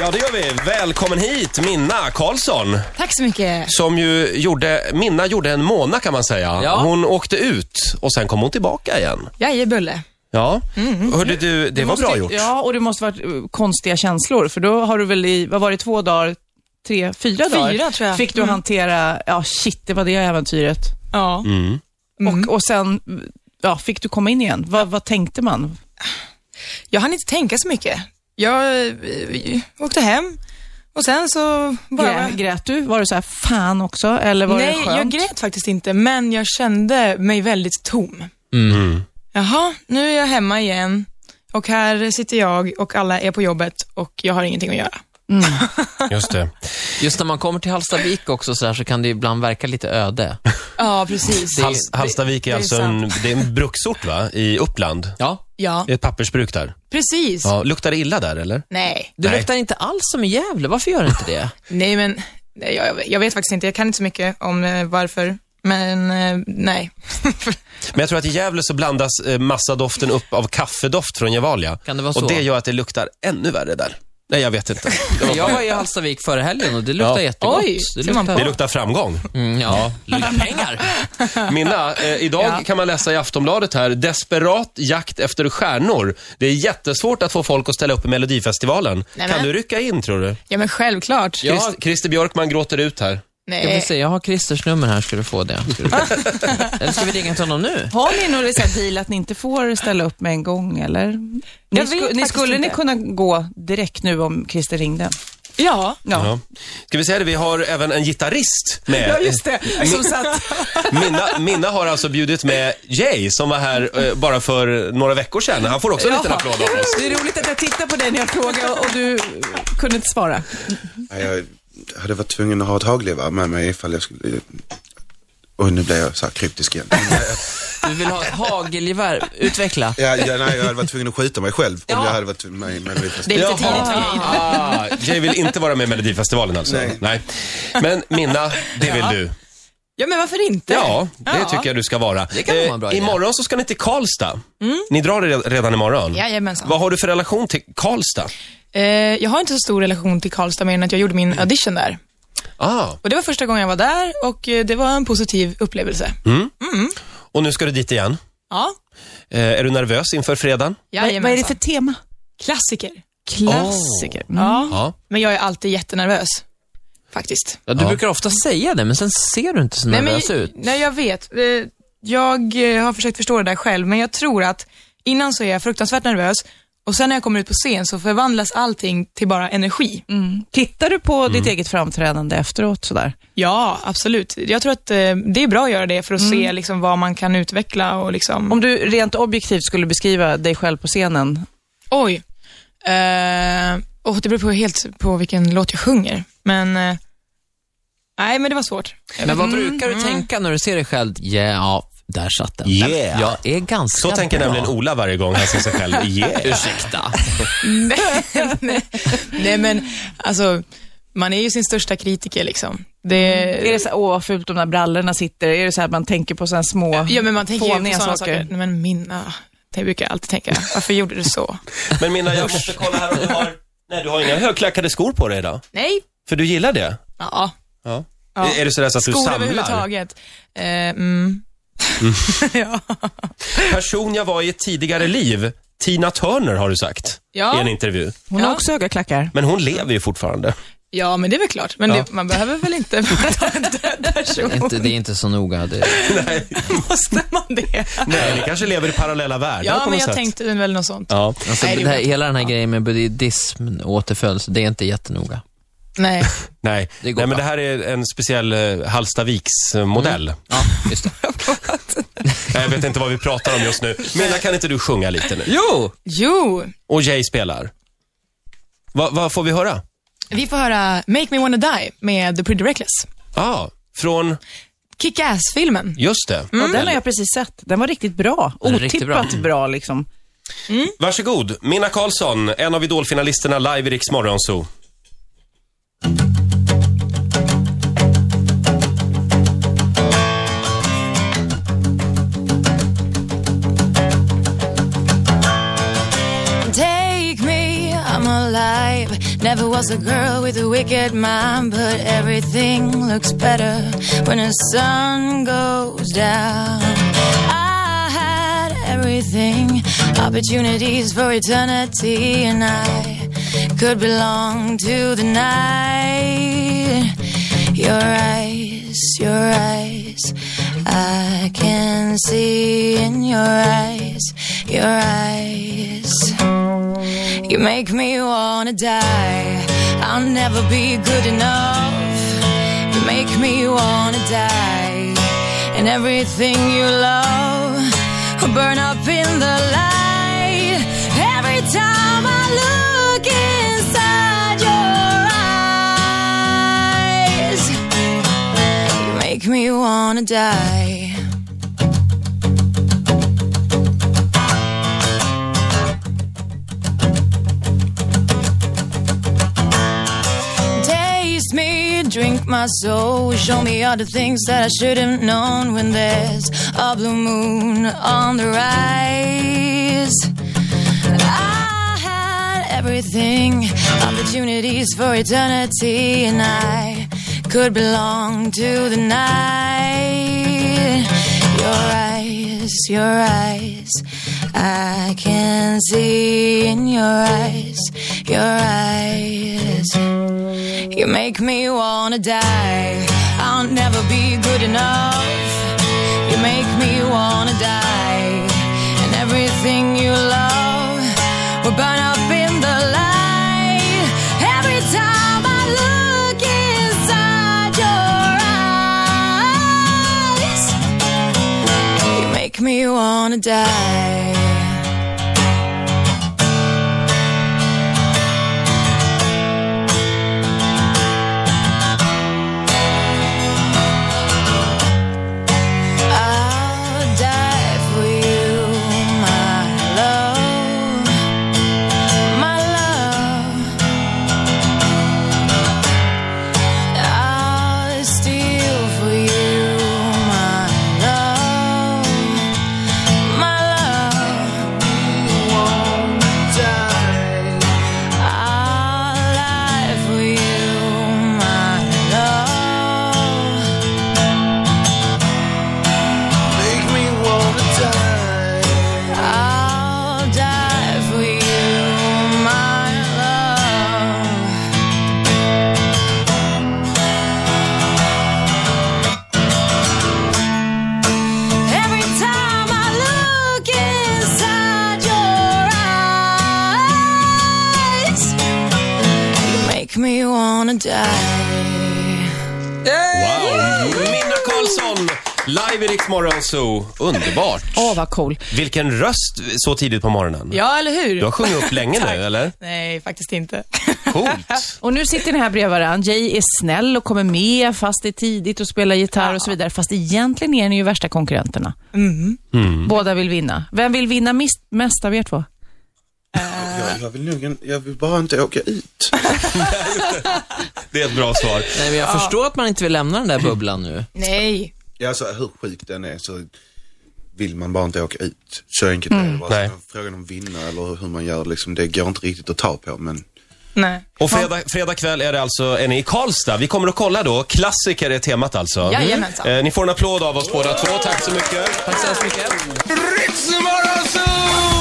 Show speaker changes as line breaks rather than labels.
Ja, det gör vi. Välkommen hit, Minna Karlsson.
Tack så mycket.
Som ju gjorde, Minna gjorde en månad kan man säga.
Ja.
Hon åkte ut och sen kom hon tillbaka igen.
Jag är bulle.
Ja, hörde du, det var
måste,
bra gjort.
Ja, och det måste varit eh, konstiga känslor, för då har du väl i, vad var det, två dagar, tre, fyra,
Fyra,
dagar?
tror jag.
Fick du
Mm.
hantera, ja shit, det var det äventyret.
Ja.
Mm.
Och, och sen, ja, fick du komma in igen? Vad, vad tänkte man?
Jag hann inte tänka så mycket. Jag eh, åkte hem och sen så bara...
Grä, grät du? Var det så här, fan också? Eller var
Nej,
det
jag
skönt?
grät faktiskt inte, men jag kände mig väldigt tom.
Mm.
Jaha, nu är jag hemma igen och här sitter jag och alla är på jobbet och jag har ingenting att göra.
Just det.
Just när man kommer till Hallstavik också så, här, så kan det ibland verka lite öde.
Ja, precis.
Det-
Hals, Hallstavik är,
det är
alltså en, det är en bruksort va? i Uppland.
Ja.
Ja,
Det är ett pappersbruk där.
precis.
Ja, luktar det illa där eller?
Nej.
Du
Nej.
luktar inte alls som i Gävle. Varför gör du inte det?
Nej, men nej, jag, jag vet faktiskt inte. Jag kan inte så mycket om eh, varför, men eh, nej.
Men jag tror att i Gävle så blandas eh, massadoften upp av kaffedoft från Gevalia.
Kan det vara
och
så?
det gör att det luktar ännu värre där. Nej, jag vet inte. Det, var
Jag var i Hallstavik förra helgen och det luktar
Ja.
jättegott.
Oj,
det
ser man
luktar...
på.
det luktar framgång.
Mm, ja, lilla pengar.
Minna, eh, idag kan man läsa i Aftonbladet här, desperat jakt efter stjärnor. Det är jättesvårt att få folk att ställa upp i Melodifestivalen.
men.
Kan du rycka in tror du?
Ja, men självklart.
Ja.
Christ, Christer Björkman gråter ut här.
Jag,
Nej.
vill se, jag har Christers nummer här, ska du få det. Ska du få. Eller ska vi ringa till honom nu?
Har ni någon så här deal att ni inte får ställa upp med en gång, eller? Ni,
Jag vet
ni
faktiskt
skulle ni
inte.
kunna gå direkt nu om Christer ringde?
Ja.
Ja.
Ja. Ska vi säga det, vi har även en gitarrist med.
det. Som satt...
Minna, Minna har alltså bjudit med Jay som var här eh, bara för några veckor sedan. Han får också en liten
Ja.
applåd av oss.
Det är roligt att jag tittar på dig när jag frågar och du kunde inte svara.
Ja, Jag hade varit tvungen att ha ett hagelgevär med mig ifall jag skulle... Och nu blev jag så här kryptisk igen.
Du vill ha ett hagelgevär. Utveckla.
Ja, ja, nej, jag hade varit tvungen att skjuta mig själv om
Ja.
jag hade varit med i Melodifestivalen.
Det är lite tidigt för mig.
Ah, Jay vill inte vara med i Melodifestivalen alltså?
Nej.
Men Minna, det vill du?
Ja, men varför inte?
Ja, det
Ja.
tycker jag du ska vara. Eh,
Det kan vara en bra idé.
imorgon så ska ni till Karlstad. Ni drar re- redan imorgon.
Mm. Jajamensan.
Vad har du för relation till Karlstad?
Eh, jag har inte så stor relation till Karlstad mer än att jag gjorde
Mm.
min audition där.
Ah,
Och det var första gången jag var där och eh, det var en positiv upplevelse.
Mm.
och nu ska du dit igen.
Ja,
Eh, är du nervös inför fredagen?
jajamensan.
Vad är det för tema?
klassiker?
Klassiker. Mm.
Ja.
Ja.
men jag är alltid jättenervös. Faktiskt.
Ja, du brukar ofta säga det, men sen ser du inte så nervös
men,
ut.
Nej, jag vet. Eh, Jag eh, har försökt förstå det där själv, men jag tror att innan så är jag fruktansvärt nervös och sen när jag kommer ut på scen så förvandlas allting till bara energi.
Mm. Tittar du på
Mm.
ditt eget framträdande efteråt sådär?
Ja, absolut. Jag tror att eh, det är bra att göra det för att se liksom, vad man kan utveckla och liksom...
Om du rent objektivt skulle beskriva dig själv på scenen,
Oj. Eh, och det beror på helt på vilken låt jag sjunger. Men... Eh, nej, men det var svårt.
Men vad brukar du tänka när du ser dig själv? Yeah, ja, där satt den.
Yeah.
Jag är ganska
Så tänker
bra.
nämligen Ola varje gång han ser sig själv. Yeah.
Ursäkta.
nej, nej, men alltså, man är ju sin största kritiker liksom. Det,
är det så här, åh vad fult de där brallorna sitter? Är det så här att man tänker på så här små
ja, men man tänker ju på
fåniga
sådana saker. Nej, men Minna, det brukar jag alltid tänka. Varför gjorde du så?
Men Minna, jag måste kolla här om du har... Nej, du har inga högklackade skor på dig idag.
Nej.
För du gillar det?
Ja.
Ja.
Ja.
Är- Är det sådär så att du
Skor
samlar?
överhuvudtaget. Eh, mm. ja.
Person jag var i ett tidigare liv, Tina Turner har du sagt
Ja.
i en intervju.
Hon har
Ja.
också höga klackar.
Men hon lever ju fortfarande.
Ja, men det är väl klart. Men
Ja.
det, man behöver väl inte ta en död
Det är
person?
inte, det är inte så noga. Det...
Måste man det?
Nej, ni kanske lever i parallella världar
Ja,
på
men
något
jag
sätt.
tänkte väl något sånt.
Ja.
Alltså,
Nej, det
det här,
gjorde
hela den här grejen med buddhism, återfödelse, det är inte jättenoga.
Nej,
Nej,
Det går
Nej men
bra.
det här är en speciell eh, Hallstaviks eh, modell.
Ja, just det.
Nej, Jag vet inte vad vi pratar om just nu. Minna, kan inte du sjunga lite nu?
Jo!
jo,
Och Jay spelar. Va- Vad får vi höra?
vi får höra Make Me Wanna Die med The Pretty Reckless.
Ja, ah, från,
Kick-Ass-filmen.
just det.
Mm.
Ja, den har jag precis sett. Den var riktigt bra.
Den är riktigt bra.
Otippat bra. liksom.
Varsågod, Minna Karlsson, en av idolfinalisterna live i Riks Morgonzoo.
Take me, I'm alive. Never was
was a girl with a wicked mind, but everything looks better when the sun goes down. I had everything, opportunities for eternity, and I could belong to the night. Your eyes, your eyes, I can see in your eyes, your eyes. You make me wanna die. I'll never be good enough. You make me wanna die. And everything you love will burn up in the light. Every time I look inside your eyes, you make me wanna die. Taste me, drink my soul. Show me all the things that I shouldn't known when there's a blue moon on the rise. I had everything, opportunities for eternity, and I could belong to the night. Your eyes, your eyes, I can see in your eyes, your eyes. You make me wanna die. I'll never be good enough. You make me wanna die. And everything you love will burn up in the light. Every time I look inside your eyes, you make me wanna die. I'll die for you, my love, my love. I'll steal for you, my love, my love. Won't die. I'll lie for you, my love.
Make me wanna die.
I'll die for you, my love. Every time I look inside your eyes, you make me wanna die.
Wow! Minna Karlsson, live i Rix Morgon Zoo. Underbart!
Åh, vad cool.
Vilken röst så tidigt på morgonen.
Ja, eller hur?
Du har sjungit upp länge nu,
Tack.
eller?
Nej, faktiskt inte.
Coolt.
Och nu sitter ni här bredvid varandra. Jay är snäll och kommer med fast det är tidigt och spelar gitarr och så vidare. Fast egentligen är ni ju värsta konkurrenterna.
Mm.
Mm.
Båda vill vinna. Vem vill vinna mis- mest av er två?
Jag, jag vill nog, en- jag vill bara inte åka ut.
Det är ett bra svar.
Nej, men jag förstår att man inte vill lämna den där bubblan nu.
Nej.
Ja, alltså hur sjuk den är så vill man bara inte åka ut. Så enkelt är det bara.
Nej.
Så Frågan om vinna eller hur man gör liksom, det går inte riktigt att ta på men
Nej.
Och fredag, fredag kväll är det alltså, är ni i Karlstad? Vi kommer att kolla då. Klassiker är temat alltså.
Jajamensan.
Eh, ni får en applåd av oss båda två. Tack så mycket.
Tack så hemskt mycket.
Ritzmorgonzoo!